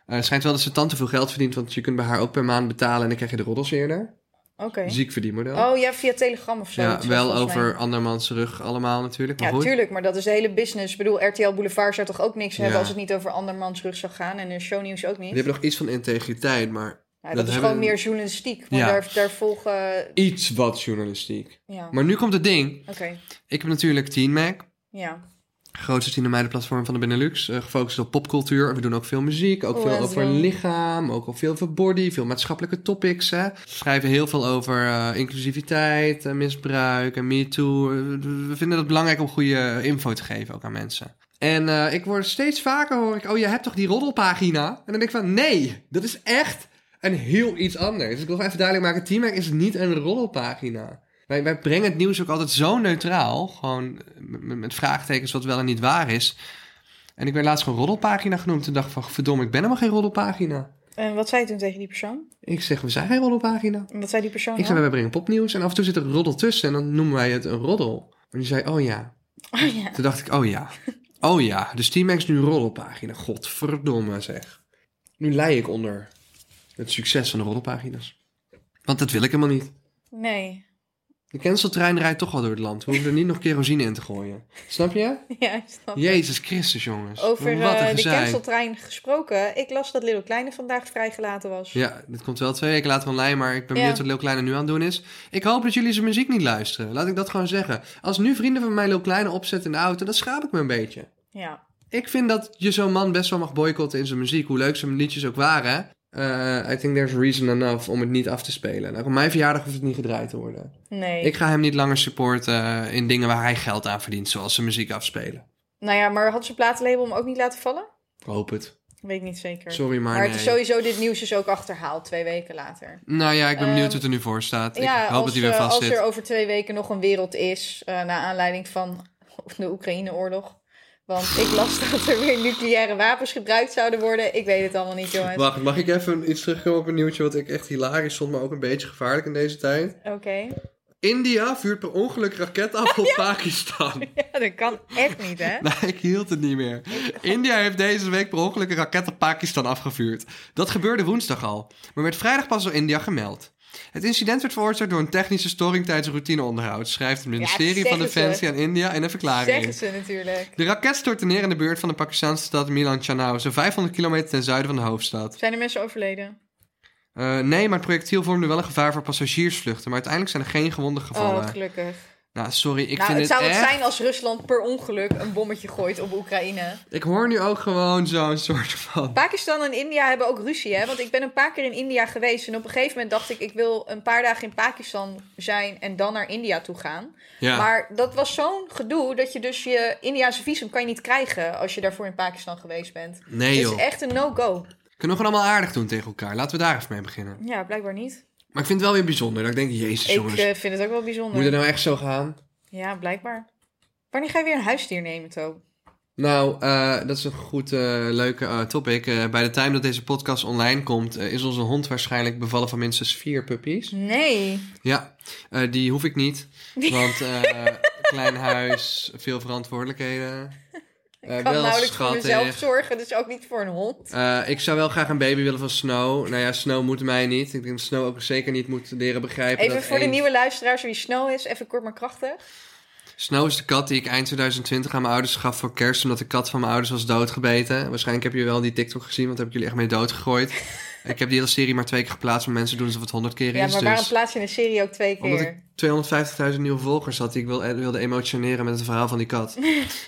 Speaker 1: Eh, het schijnt wel dat ze tante veel geld verdient, want je kunt bij haar ook per maand betalen en dan krijg je de roddels eerder.
Speaker 2: Oké.
Speaker 1: Ziek verdienmodel.
Speaker 2: Oh ja, via Telegram of zo.
Speaker 1: ja,
Speaker 2: iets,
Speaker 1: wel
Speaker 2: volgens mij.
Speaker 1: over andermans rug allemaal natuurlijk. Maar
Speaker 2: Ja,
Speaker 1: goed.
Speaker 2: tuurlijk, maar dat is de hele business. Ik bedoel, RTL Boulevard zou toch ook niks
Speaker 1: Ja.
Speaker 2: hebben als het niet over andermans rug zou gaan en eh, shownieuws ook niet.
Speaker 1: Die hebben nog iets van integriteit, maar
Speaker 2: Ja, dat,
Speaker 1: dat
Speaker 2: is
Speaker 1: hebben-
Speaker 2: gewoon meer journalistiek. Maar
Speaker 1: Ja.
Speaker 2: daar, daar volgen.
Speaker 1: iets wat journalistiek.
Speaker 2: Ja,
Speaker 1: Maar nu komt het ding.
Speaker 2: oké.
Speaker 1: Ik heb natuurlijk Teen Mac.
Speaker 2: Ja.
Speaker 1: grootste tienermeidenplatform van de Benelux. eh, gefocust op popcultuur. We doen ook veel muziek, ook
Speaker 2: Oh,
Speaker 1: veel
Speaker 2: en
Speaker 1: over
Speaker 2: zo.
Speaker 1: lichaam, ook al veel over body, veel maatschappelijke topics. Hè. Schrijven heel veel over eh, inclusiviteit, en misbruik en MeToo. Eh, We we vinden het belangrijk om goede eh, info te geven ook aan mensen. En eh, ik word steeds vaker hoor ik, oh je hebt toch die roddelpagina? En dan denk ik van, nee, dat is echt een heel iets anders. Dus ik wil even duidelijk maken, Teamwerk is niet een roddelpagina. Wij, wij brengen het nieuws ook altijd zo neutraal, gewoon met, met vraagtekens wat wel en niet waar is. En ik ben laatst gewoon roddelpagina genoemd en dacht van, verdomme, ik ben helemaal geen roddelpagina.
Speaker 2: En wat zei je toen tegen die persoon?
Speaker 1: Ik zeg, we zijn geen roddelpagina.
Speaker 2: En wat zei die persoon?
Speaker 1: Ik
Speaker 2: dan?
Speaker 1: zei, wij brengen popnieuws en af en toe zit er een roddel tussen en dan noemen wij het een roddel. En die zei, oh ja.
Speaker 2: [laughs] Oh ja.
Speaker 1: Toen dacht ik, oh ja. Oh ja, dus Team Max nu een roddelpagina. Godverdomme zeg. Nu lei ik onder het succes van de roddelpagina's. Want dat wil ik helemaal niet.
Speaker 2: Nee. [laughs]
Speaker 1: De canceltrein rijdt toch al door het land. We hoeven er niet nog kerosine in te gooien. Snap je?
Speaker 2: Ja, ik snap.
Speaker 1: Jezus Christus, jongens.
Speaker 2: Over
Speaker 1: Wat een
Speaker 2: eh, de
Speaker 1: gezeik.
Speaker 2: canceltrein gesproken. Ik las dat Little Kleine vandaag vrijgelaten was.
Speaker 1: Ja, dit komt wel twee weken later online, maar ik ben
Speaker 2: Ja.
Speaker 1: benieuwd wat Lil Kleine nu aan het doen is. Ik hoop dat jullie zijn muziek niet luisteren. Laat ik dat gewoon zeggen. Als nu vrienden van mij Lil Kleine opzetten in de auto, dan schaap ik me een beetje.
Speaker 2: Ja.
Speaker 1: Ik vind dat je zo'n man best wel mag boycotten in zijn muziek, hoe leuk zijn liedjes ook waren. Eh, I think there's reason enough om het niet af te spelen. Nou, op mijn verjaardag hoeft het niet gedraaid te worden.
Speaker 2: Nee.
Speaker 1: Ik ga hem niet langer supporten eh, in dingen waar hij geld aan verdient, zoals zijn muziek afspelen.
Speaker 2: Nou ja, maar had ze platenlabel hem ook niet laten vallen?
Speaker 1: Ik hoop het.
Speaker 2: Weet ik niet zeker.
Speaker 1: Sorry, maar,
Speaker 2: Eh, maar
Speaker 1: nee.
Speaker 2: het is sowieso, dit nieuws is ook achterhaald twee weken later.
Speaker 1: Nou ja, ik ben benieuwd
Speaker 2: Ehm,
Speaker 1: hoe het er nu voor staat. Ik
Speaker 2: ja,
Speaker 1: hoop
Speaker 2: als,
Speaker 1: dat hij weer
Speaker 2: eh,
Speaker 1: vast
Speaker 2: als
Speaker 1: zit.
Speaker 2: er over twee weken nog een wereld is, eh naar aanleiding van de Oekraïne-oorlog. Want ik las [laughs] dat er weer nucleaire wapens gebruikt zouden worden. Ik weet het allemaal niet, jongens.
Speaker 1: Wacht, mag ik even iets terugkomen op een nieuwtje wat ik echt hilarisch vond, maar ook een beetje gevaarlijk in deze tijd?
Speaker 2: Oké.
Speaker 1: India vuurt per ongeluk raket af
Speaker 2: [laughs]
Speaker 1: op Pakistan.
Speaker 2: Ja, [laughs] dat kan echt niet,
Speaker 1: [laughs]
Speaker 2: hè?
Speaker 1: Nee, ik hield het niet meer. India heeft deze week per ongeluk een raket op Pakistan afgevuurd. Dat gebeurde woensdag al, maar werd vrijdag pas door India gemeld. Het incident werd veroorzaakt door een technische storing tijdens routineonderhoud, schrijft het ministerie van
Speaker 2: zeggen ze.
Speaker 1: Defensie aan India in een verklaring.
Speaker 2: Zeggen ze natuurlijk.
Speaker 1: De raket stortte neer in de buurt van de Pakistanse stad Milan Chanao, zo'n 500 kilometer ten zuiden van de hoofdstad.
Speaker 2: Zijn er mensen overleden?
Speaker 1: Eh, nee, maar het projectiel vormde wel een gevaar voor passagiersvluchten. Maar uiteindelijk zijn er geen gewonden gevallen.
Speaker 2: Oh, gelukkig.
Speaker 1: Nou, sorry, ik
Speaker 2: nou,
Speaker 1: vind
Speaker 2: het zou het
Speaker 1: echt...
Speaker 2: zijn als Rusland per ongeluk een bommetje gooit op Oekraïne.
Speaker 1: Ik hoor nu ook gewoon zo'n soort van...
Speaker 2: Pakistan en India hebben ook ruzie, hè? Want ik ben een paar keer in India geweest. En op een gegeven moment dacht ik, ik wil een paar dagen in Pakistan zijn en dan naar India toe gaan.
Speaker 1: Ja.
Speaker 2: Maar dat was zo'n gedoe dat je dus je Indiaanse visum kan je niet krijgen als je daarvoor in Pakistan geweest bent.
Speaker 1: nee
Speaker 2: Het
Speaker 1: joh.
Speaker 2: is echt een no-go.
Speaker 1: Kunnen we gewoon allemaal aardig doen tegen elkaar. Laten we daar even mee beginnen.
Speaker 2: Ja, blijkbaar niet.
Speaker 1: Maar ik vind het wel weer bijzonder. Dat ik denk, jezus
Speaker 2: Ik
Speaker 1: jongens,
Speaker 2: eh, vind het ook wel
Speaker 1: moet
Speaker 2: bijzonder.
Speaker 1: het nou echt zo gaan?
Speaker 2: Ja, blijkbaar. Wanneer ga je weer een huisdier nemen, To?
Speaker 1: Nou, eh, dat is een goed, eh, leuke eh, topic. Eh, bij de time dat deze podcast online komt, eh, is onze hond waarschijnlijk bevallen van minstens vier puppies.
Speaker 2: Nee.
Speaker 1: Ja, eh, die hoef ik niet. Want
Speaker 2: [laughs]
Speaker 1: eh, klein huis, veel verantwoordelijkheden. Eh,
Speaker 2: Ik kan nauwelijks voor
Speaker 1: schattig.
Speaker 2: mezelf zorgen, dus ook niet voor een hond.
Speaker 1: Eh, ik zou wel graag een baby willen van Snow. Nou ja, Snow moet mij niet. Ik denk dat Snow ook zeker niet moet leren begrijpen.
Speaker 2: Even
Speaker 1: dat
Speaker 2: voor de
Speaker 1: één-
Speaker 2: nieuwe luisteraars wie Snow is, even kort maar krachtig.
Speaker 1: Snow is de kat die ik eind 2020 aan mijn ouders gaf voor kerst. Omdat de kat van mijn ouders was doodgebeten. Waarschijnlijk heb je wel die TikTok gezien, want daar heb ik jullie echt mee doodgegooid.
Speaker 2: [laughs]
Speaker 1: ik heb die hele serie maar twee keer geplaatst, maar mensen doen alsof het honderd keer
Speaker 2: Ja,
Speaker 1: is.
Speaker 2: maar waarom
Speaker 1: dus-
Speaker 2: plaats je een serie ook twee
Speaker 1: Omdat
Speaker 2: keer?
Speaker 1: 250.000 nieuwe volgers had die ik wil, wilde emotioneren met het verhaal van die
Speaker 2: [laughs]
Speaker 1: kat.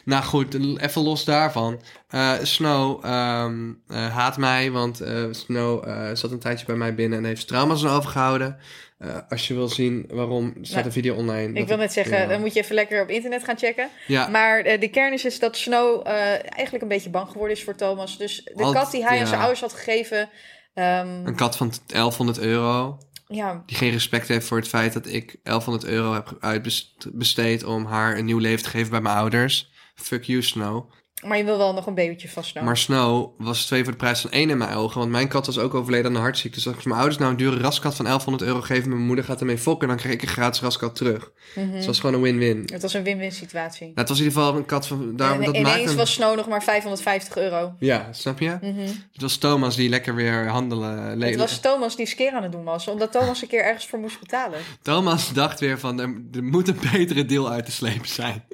Speaker 1: nou goed, even los daarvan. Eh, Snow ehm, eh, haat mij, want eh, Snow eh, zat een tijdje bij mij binnen en heeft trauma's aan overgehouden. Eh, als je wil zien waarom, staat
Speaker 2: Nou,
Speaker 1: een video online.
Speaker 2: Ik
Speaker 1: Dat
Speaker 2: wil net zeggen, ehm,
Speaker 1: ja.
Speaker 2: dan moet je even lekker op internet gaan checken.
Speaker 1: Ja,
Speaker 2: Maar eh, de kern is, is dat Snow eh, eigenlijk een beetje bang geworden is voor Thomas. Dus de
Speaker 1: Al-
Speaker 2: kat die hij
Speaker 1: ja.
Speaker 2: aan zijn ouders had gegeven, ehm,
Speaker 1: een kat van 1100 euro,
Speaker 2: ja,
Speaker 1: die geen respect heeft voor het feit dat ik 1100 euro heb uitbesteed om haar een nieuw leven te geven bij mijn ouders. Fuck you, Snow.
Speaker 2: maar je wil wel nog een babytje van Snow.
Speaker 1: Maar Snow was twee voor de prijs van één in mijn ogen. Want mijn kat was ook overleden aan een hartziekte. Dus als ik mijn ouders nou een dure raskat van 1100 euro geven... mijn moeder gaat ermee fokken, dan krijg ik een gratis raskat terug.
Speaker 2: Mhm.
Speaker 1: Dus het was gewoon een win-win. Nou,
Speaker 2: Het was een win-win situatie.
Speaker 1: het was in ieder geval een kat van... Daar,
Speaker 2: en
Speaker 1: dat
Speaker 2: ineens
Speaker 1: maakt een-
Speaker 2: was Snow nog maar 550 euro.
Speaker 1: Ja, snap je?
Speaker 2: Mhm.
Speaker 1: Het was Thomas die lekker weer handelen...
Speaker 2: Het
Speaker 1: Le-
Speaker 2: was Thomas die skeer aan het doen was, omdat Thomas een keer ergens voor moest betalen.
Speaker 1: Thomas dacht weer van... Er, er moet een betere deal uit te slepen zijn.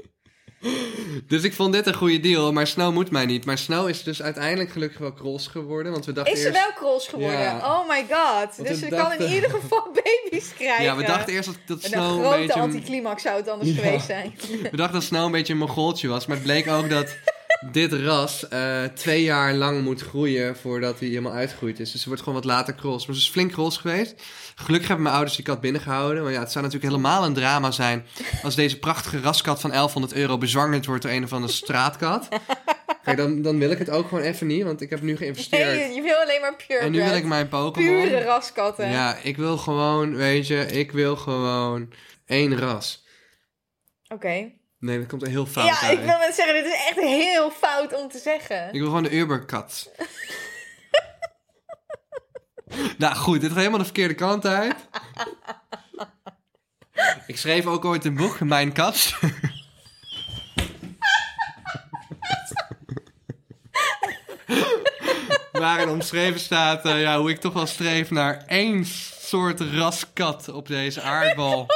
Speaker 1: dus ik vond dit een goede deal, maar Snow moet mij niet. Maar Snow is dus uiteindelijk gelukkig wel cross geworden. Want we dachten
Speaker 2: Is ze
Speaker 1: eerst...
Speaker 2: wel cross geworden?
Speaker 1: Ja.
Speaker 2: Oh my god.
Speaker 1: Want
Speaker 2: dus
Speaker 1: we
Speaker 2: ze kan in
Speaker 1: dachten-
Speaker 2: ieder geval [laughs] baby's krijgen.
Speaker 1: Ja, we dachten eerst dat, dat
Speaker 2: En een
Speaker 1: Snow
Speaker 2: grote
Speaker 1: een beetje...
Speaker 2: anticlimax zou het anders
Speaker 1: Ja.
Speaker 2: geweest
Speaker 1: [laughs]
Speaker 2: zijn.
Speaker 1: We dachten dat Snow een beetje een mongooltje was, maar het bleek ook dat dit ras eh, twee jaar lang moet groeien voordat hij helemaal uitgroeid is. Dus ze wordt gewoon wat later cross. Maar ze is dus flink cross geweest. Gelukkig hebben mijn ouders die kat binnengehouden. Maar ja, het zou natuurlijk helemaal een drama zijn als deze prachtige raskat van 1100 euro bezwangerd wordt door een of andere straatkat. Kijk, dan, dan wil ik het ook gewoon even niet, want ik heb nu
Speaker 2: Nee,
Speaker 1: geïnvesteerd.
Speaker 2: je, je wil alleen maar pure
Speaker 1: En nu wil ik mijn
Speaker 2: Pure
Speaker 1: Pokémon.
Speaker 2: raskatten.
Speaker 1: Ja, ik wil gewoon, weet je, ik wil gewoon één ras.
Speaker 2: Oké.
Speaker 1: Nee, dat komt er heel fout
Speaker 2: Ja,
Speaker 1: uit.
Speaker 2: ik wil net zeggen, dit is echt heel fout om te zeggen. [laughs]
Speaker 1: Ik wil gewoon de Uberkat. [laughs] nou goed, dit gaat helemaal de verkeerde kant uit. Ik schreef ook ooit een boek, Mijn Kat. [laughs] Waarin omschreven staat eh, ja, hoe ik toch wel streef naar één soort raskat op deze aardbal.
Speaker 2: Oh,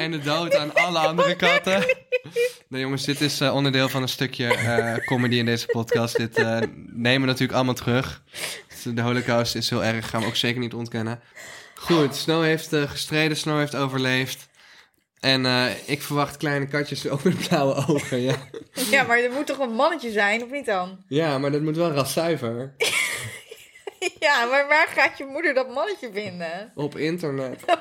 Speaker 1: En de dood aan alle
Speaker 2: [laughs]
Speaker 1: andere katten. Nee jongens, dit is eh, onderdeel van een stukje
Speaker 2: [laughs]
Speaker 1: eh, comedy in deze podcast. Dit eh, nemen we natuurlijk allemaal terug. De holocaust is heel erg, gaan we ook zeker niet ontkennen. Goed, Snow heeft eh, gestreden, Snow heeft overleefd. En eh, ik verwacht kleine katjes [laughs] ook met blauwe ogen, ja.
Speaker 2: Ja, maar er moet toch een mannetje zijn, of niet dan? [laughs]
Speaker 1: Ja, maar dat moet wel raszuiver.
Speaker 2: Ja, maar waar gaat je moeder dat mannetje vinden?
Speaker 1: Op internet.
Speaker 2: [laughs]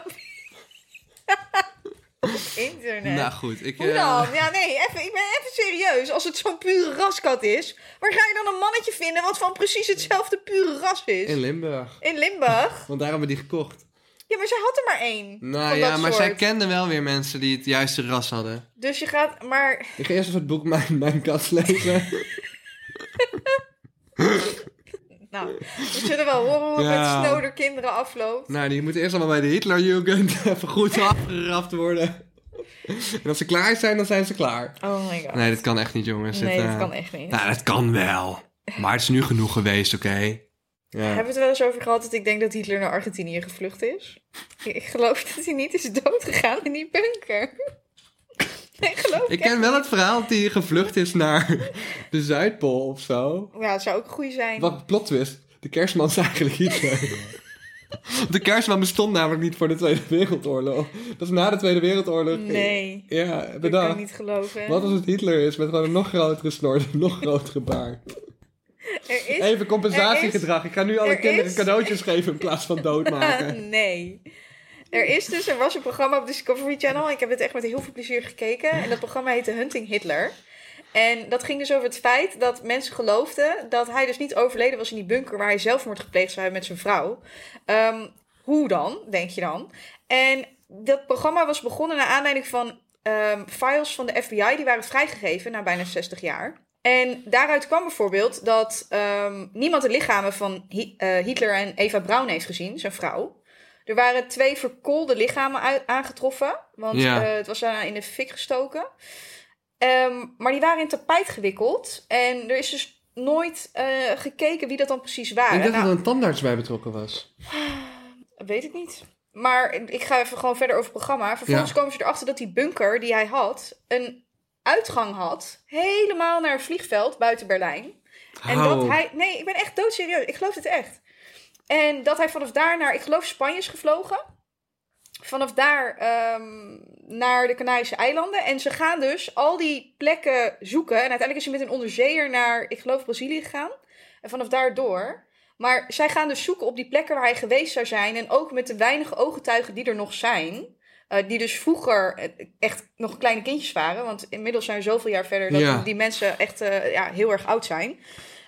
Speaker 2: Internet.
Speaker 1: Nou goed, ik...
Speaker 2: Hoe
Speaker 1: eh,
Speaker 2: dan? Ja, nee, even, ik ben even serieus. Als het zo'n pure raskat is, waar ga je dan een mannetje vinden wat van precies hetzelfde pure ras is?
Speaker 1: in Limburg.
Speaker 2: In Limburg?
Speaker 1: Want daar hebben we die gekocht.
Speaker 2: Ja, maar zij had er maar één.
Speaker 1: Nou
Speaker 2: van
Speaker 1: ja,
Speaker 2: dat
Speaker 1: maar zij
Speaker 2: soort.
Speaker 1: kenden wel weer mensen die het juiste ras hadden.
Speaker 2: Dus je gaat, maar
Speaker 1: Ik ga eerst even het boek Mijn, mijn Kat
Speaker 2: [laughs]
Speaker 1: lezen.
Speaker 2: Nou, we zullen wel horen hoe het
Speaker 1: Ja.
Speaker 2: met Snow door kinderen afloopt.
Speaker 1: Nou, die moeten eerst allemaal bij de Hitlerjugend [laughs] even goed afgeraft worden. En als ze klaar zijn, dan zijn ze klaar.
Speaker 2: Oh my god.
Speaker 1: Nee, dat kan echt niet, jongens.
Speaker 2: Nee,
Speaker 1: Dit,
Speaker 2: dat
Speaker 1: eh,
Speaker 2: kan echt niet.
Speaker 1: Nou, dat kan wel. Maar het is nu genoeg geweest, oké?
Speaker 2: Hebben we het er wel eens over gehad dat ik denk dat Hitler naar Argentinië gevlucht is? Ik ik geloof dat hij niet is doodgegaan in die bunker. [laughs] Ik geloof
Speaker 1: Ik
Speaker 2: ik.
Speaker 1: ken wel het verhaal dat hij gevlucht is naar [laughs] de Zuidpool of zo.
Speaker 2: Ja, het zou ook goed zijn.
Speaker 1: [laughs] Wat een plot twist. De kerstman is eigenlijk Hitler. De kerstman bestond namelijk niet voor de Tweede Wereldoorlog. Dat is na de Tweede Wereldoorlog.
Speaker 2: Nee.
Speaker 1: Ja,
Speaker 2: Dat kan ik
Speaker 1: bedankt.
Speaker 2: niet geloven.
Speaker 1: Wat als het Hitler is met gewoon een nog grotere snor, een nog grotere baard.
Speaker 2: er is... [laughs]
Speaker 1: Even compensatiegedrag. Ik ga nu alle
Speaker 2: er
Speaker 1: kinderen
Speaker 2: is-
Speaker 1: cadeautjes geven in plaats van
Speaker 2: [laughs]
Speaker 1: doodmaken.
Speaker 2: nee. Er is dus, er was een programma op Discovery Channel. Ik heb het echt met heel veel plezier gekeken. En dat programma heette Hunting Hitler. En dat ging dus over het feit dat mensen geloofden dat hij dus niet overleden was in die bunker waar hij zelfmoord gepleegd zou hebben met zijn vrouw. Ehm, hoe dan, denk je dan? En dat programma was begonnen naar aanleiding van ehm, files van de FBI die waren vrijgegeven na bijna 60 jaar. En daaruit kwam bijvoorbeeld dat ehm, niemand de lichamen van Hi- eh, Hitler en Eva Braun heeft gezien, zijn vrouw. Er waren twee verkoolde lichamen uit- aangetroffen, want
Speaker 1: Ja.
Speaker 2: eh, het was daarna in de fik gestoken. Ehm, maar die waren in tapijt gewikkeld. En er is dus nooit eh, gekeken wie dat dan precies waren.
Speaker 1: Ik dacht dat
Speaker 2: Nou,
Speaker 1: er een tandarts bij betrokken was.
Speaker 2: Weet ik niet. Maar ik ga even gewoon verder over het programma. Vervolgens
Speaker 1: Ja.
Speaker 2: komen ze erachter dat die bunker die hij had... een uitgang had. Helemaal naar een vliegveld buiten Berlijn. En
Speaker 1: Hou
Speaker 2: dat
Speaker 1: op.
Speaker 2: hij... Nee, ik ben echt doodserieus. Ik geloof het echt. En dat hij vanaf daar naar... Ik geloof Spanje is gevlogen. Vanaf daar ehm, naar de Canarische eilanden. En ze gaan dus al die plekken zoeken. En uiteindelijk is ze met een onderzeeër naar, ik geloof, Brazilië gegaan. En vanaf daar door. Maar zij gaan dus zoeken op die plekken waar hij geweest zou zijn. En ook met de weinige ooggetuigen die er nog zijn. eh, die dus vroeger eh, echt nog kleine kindjes waren. Want inmiddels zijn we zoveel jaar verder dat
Speaker 1: Ja.
Speaker 2: die mensen echt eh, ja, heel erg oud zijn.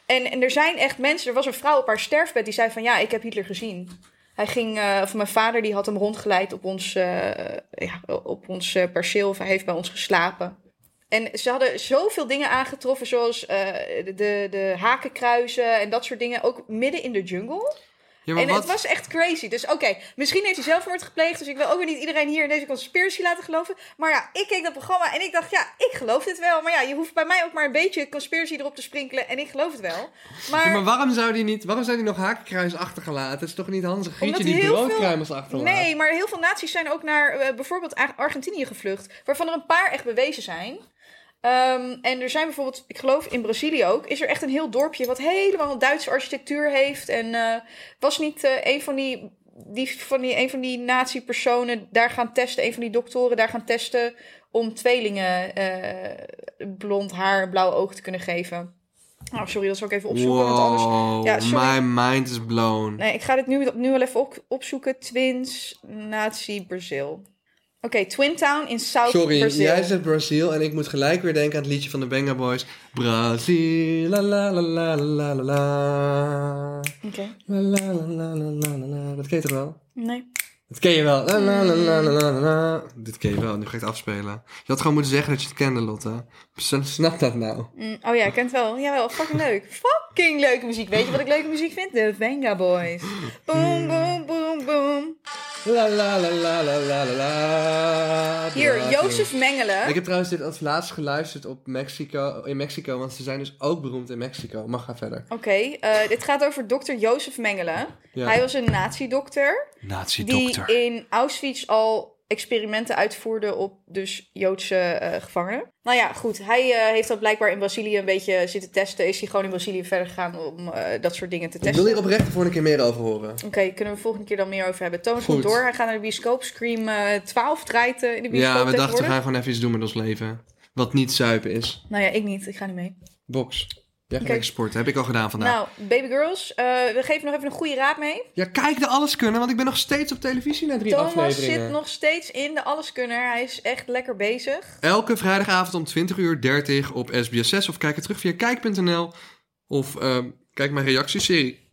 Speaker 2: En, en er zijn echt mensen. Er was een vrouw op haar sterfbed die zei van ja, ik heb Hitler gezien. Hij ging, eh, of mijn vader die had hem rondgeleid op ons, eh, ja, op ons eh, perceel. Of hij heeft bij ons geslapen. En ze hadden zoveel dingen aangetroffen, zoals eh, de, de, de hakenkruizen en dat soort dingen. Ook midden in de jungle.
Speaker 1: Ja, maar
Speaker 2: En
Speaker 1: wat?
Speaker 2: het was echt crazy. Dus oké, misschien heeft hij zelfmoord gepleegd. Dus ik wil ook weer niet iedereen hier in deze conspiracy laten geloven. Maar ja, ik keek dat programma en ik dacht, ja, ik geloof dit wel. Maar ja, je hoeft bij mij ook maar een beetje conspiracy erop te sprinkelen. En ik geloof het wel. Maar,
Speaker 1: Ja, maar waarom zou die niet, waarom zou die nog hakenkruis achtergelaten? Het is toch niet Hans en Grietje
Speaker 2: Omdat
Speaker 1: die
Speaker 2: heel veel-
Speaker 1: broodkruimels achterlaat?
Speaker 2: nee, maar heel veel naties zijn ook naar eh, bijvoorbeeld A- Argentinië gevlucht. Waarvan er een paar echt bewezen zijn. Ehm, en er zijn bijvoorbeeld, ik geloof in Brazilië ook, is er echt een heel dorpje wat helemaal Duitse architectuur heeft. En eh, was niet eh, een van die, die, van die, een van die nazi-personen daar gaan testen, een van die doktoren daar gaan testen om tweelingen eh, blond haar en blauw oog te kunnen geven. Oh, sorry, dat zal ik even opzoeken, want anders
Speaker 1: Wow,
Speaker 2: Ja, sorry.
Speaker 1: my mind is blown.
Speaker 2: Nee, ik ga dit nu, nu wel even op, opzoeken. Twins, Nazi, Brazil. Oké, Twin Town in South
Speaker 1: Sorry,
Speaker 2: Brazil.
Speaker 1: jij zegt Brazil en ik moet gelijk weer denken aan het liedje van de Benga Boys. Brazil, la la la la la la la
Speaker 2: Oké.
Speaker 1: la la la la la la la. Dat ken je toch wel?
Speaker 2: Nee.
Speaker 1: Dat ken je wel. La la la la la la la. Dit ken je wel, nu ga ik het afspelen. Je had gewoon moeten zeggen dat je het kende, Lotte. S- Snap dat nou?
Speaker 2: Mm, oh ja, ik ken het wel. Jawel, fucking leuk. [laughs] Fucking leuke muziek. Weet je wat ik leuke muziek vind? De Venga Boys.
Speaker 1: Hmm.
Speaker 2: Boom, boom, boom, boom.
Speaker 1: La la la la la la la la.
Speaker 2: Hier,
Speaker 1: Brazil.
Speaker 2: Jozef Mengelen.
Speaker 1: Ik heb trouwens dit als laatst geluisterd op Mexico, in Mexico, want ze zijn dus ook beroemd in Mexico. Mag ga verder.
Speaker 2: Oké, eh, dit gaat over dokter Jozef Mengelen.
Speaker 1: Ja.
Speaker 2: Hij was een nazi-dokter die
Speaker 1: Nazi-dokter.
Speaker 2: in Auschwitz al experimenten uitvoerde op dus Joodse eh, gevangenen. Nou ja, goed. Hij eh, heeft dat blijkbaar in Brazilië een beetje zitten testen. Is hij gewoon in Brazilië verder gegaan om eh, dat soort dingen te
Speaker 1: Ik
Speaker 2: testen.
Speaker 1: wil hier oprecht de volgende keer meer over horen.
Speaker 2: Oké, kunnen we volgende keer dan meer over hebben. Thomas
Speaker 1: Goed.
Speaker 2: moet door. Hij gaat naar de bioscoop. Scream eh 12 draait eh, in de
Speaker 1: ja,
Speaker 2: bioscoop
Speaker 1: we dachten we
Speaker 2: tegenwoordig.
Speaker 1: gaan gewoon even iets doen met ons leven. Wat niet zuipen is.
Speaker 2: Nou ja, ik niet. Ik ga niet mee.
Speaker 1: Box. Ja,
Speaker 2: Oké.
Speaker 1: lekker sporten. Heb ik al gedaan vandaag.
Speaker 2: Nou, baby girls, eh, we geven nog even een goede raad mee.
Speaker 1: Ja, kijk de alles kunnen, want ik ben nog steeds op televisie na drie
Speaker 2: Thomas
Speaker 1: afleveringen.
Speaker 2: zit nog steeds in de alleskunner. Hij is echt lekker bezig.
Speaker 1: Elke vrijdagavond om 20 uur 30 op SBS6 of kijk het terug via kijk.nl of ehm, kijk mijn reactieserie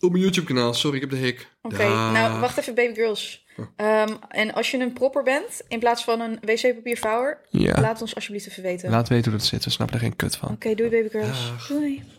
Speaker 1: op mijn YouTube kanaal. Sorry, ik heb de hik.
Speaker 2: Oké,
Speaker 1: Daag.
Speaker 2: nou wacht even, baby girls. Ehm, en als je een propper bent, in plaats van een wc-papiervouwer,
Speaker 1: Ja.
Speaker 2: laat ons alsjeblieft even weten.
Speaker 1: Laat weten hoe dat zit, we snappen er geen kut van.
Speaker 2: Oké, doei baby girls.
Speaker 1: Dag.
Speaker 2: Doei.